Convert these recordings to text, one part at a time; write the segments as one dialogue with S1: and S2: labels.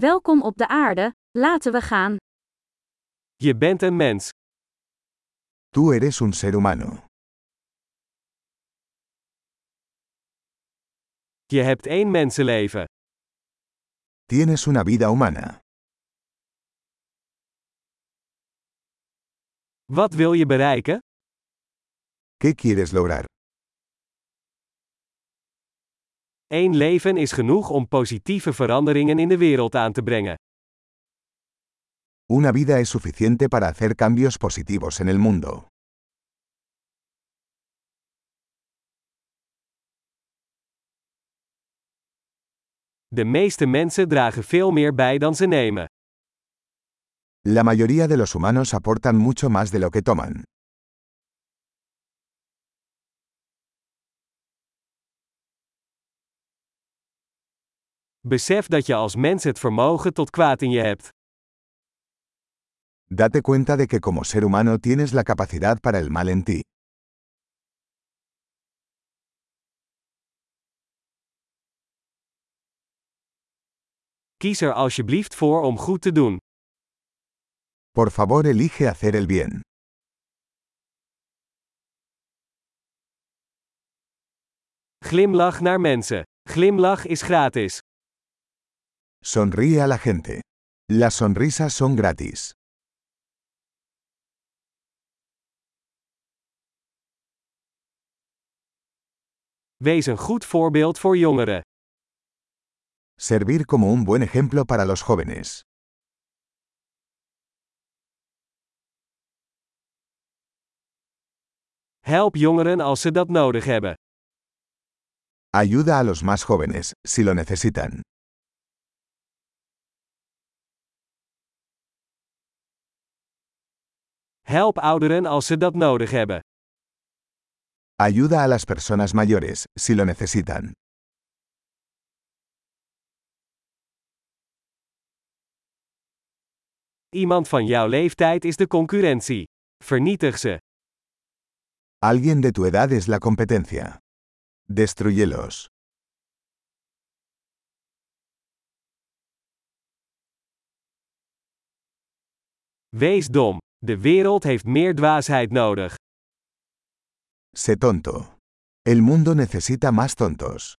S1: Welkom op de aarde, laten we gaan.
S2: Je bent een mens.
S3: Tú eres un ser humano.
S2: Je hebt één mensenleven.
S3: Tienes una vida humana.
S2: Wat wil je bereiken?
S3: ¿Qué quieres lograr?
S2: Eén leven is genoeg om positieve veranderingen in de wereld aan te brengen.
S3: Una vida es suficiente para hacer cambios positivos en el mundo.
S2: De meeste mensen dragen veel meer bij dan ze nemen.
S3: La mayoría de los humanos aportan mucho más de lo que toman.
S2: Besef dat je als mens het vermogen tot kwaad in je hebt.
S3: Date cuenta de que como ser humano tienes la capacidad para el mal en ti.
S2: Kies er alsjeblieft voor om goed te doen.
S3: Por favor, elige hacer el bien.
S2: Glimlach naar mensen. Glimlach is gratis.
S3: Sonríe a la gente. Las sonrisas son gratis.
S2: Wees een goed voorbeeld voor jongeren.
S3: Servir como un buen ejemplo para los jóvenes.
S2: Help jongeren als ze dat nodig hebben.
S3: Ayuda a los más jóvenes, si lo necesitan.
S2: Help ouderen als ze dat nodig hebben.
S3: Ayuda a las personas mayores, si lo necesitan.
S2: Iemand van jouw leeftijd is de concurrentie. Vernietig ze.
S3: Alguien de tu edad es la competencia. Destruyelos.
S2: Wees dom. De wereld heeft meer dwaasheid nodig.
S3: Sé tonto. El mundo necesita más tontos.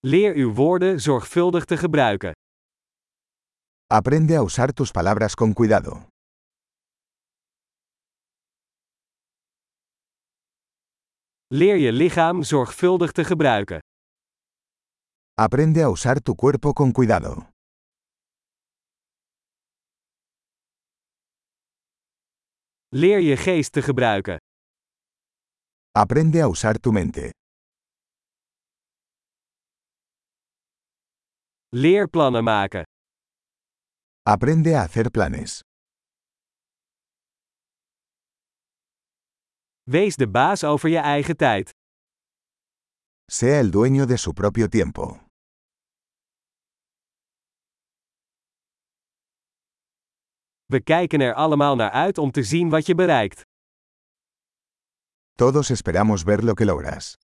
S2: Leer uw woorden zorgvuldig te gebruiken.
S3: Aprende a usar tus palabras con cuidado.
S2: Leer je lichaam zorgvuldig te gebruiken.
S3: Aprende a usar tu cuerpo con cuidado.
S2: Leer je geest te gebruiken.
S3: Aprende a usar tu mente.
S2: Leer plannen maken.
S3: Aprende a hacer planes.
S2: Wees de baas over je eigen tijd.
S3: Sea el dueño de su propio tiempo.
S2: We kijken er allemaal naar uit om te zien wat je bereikt.
S3: Todos esperamos ver lo que logras.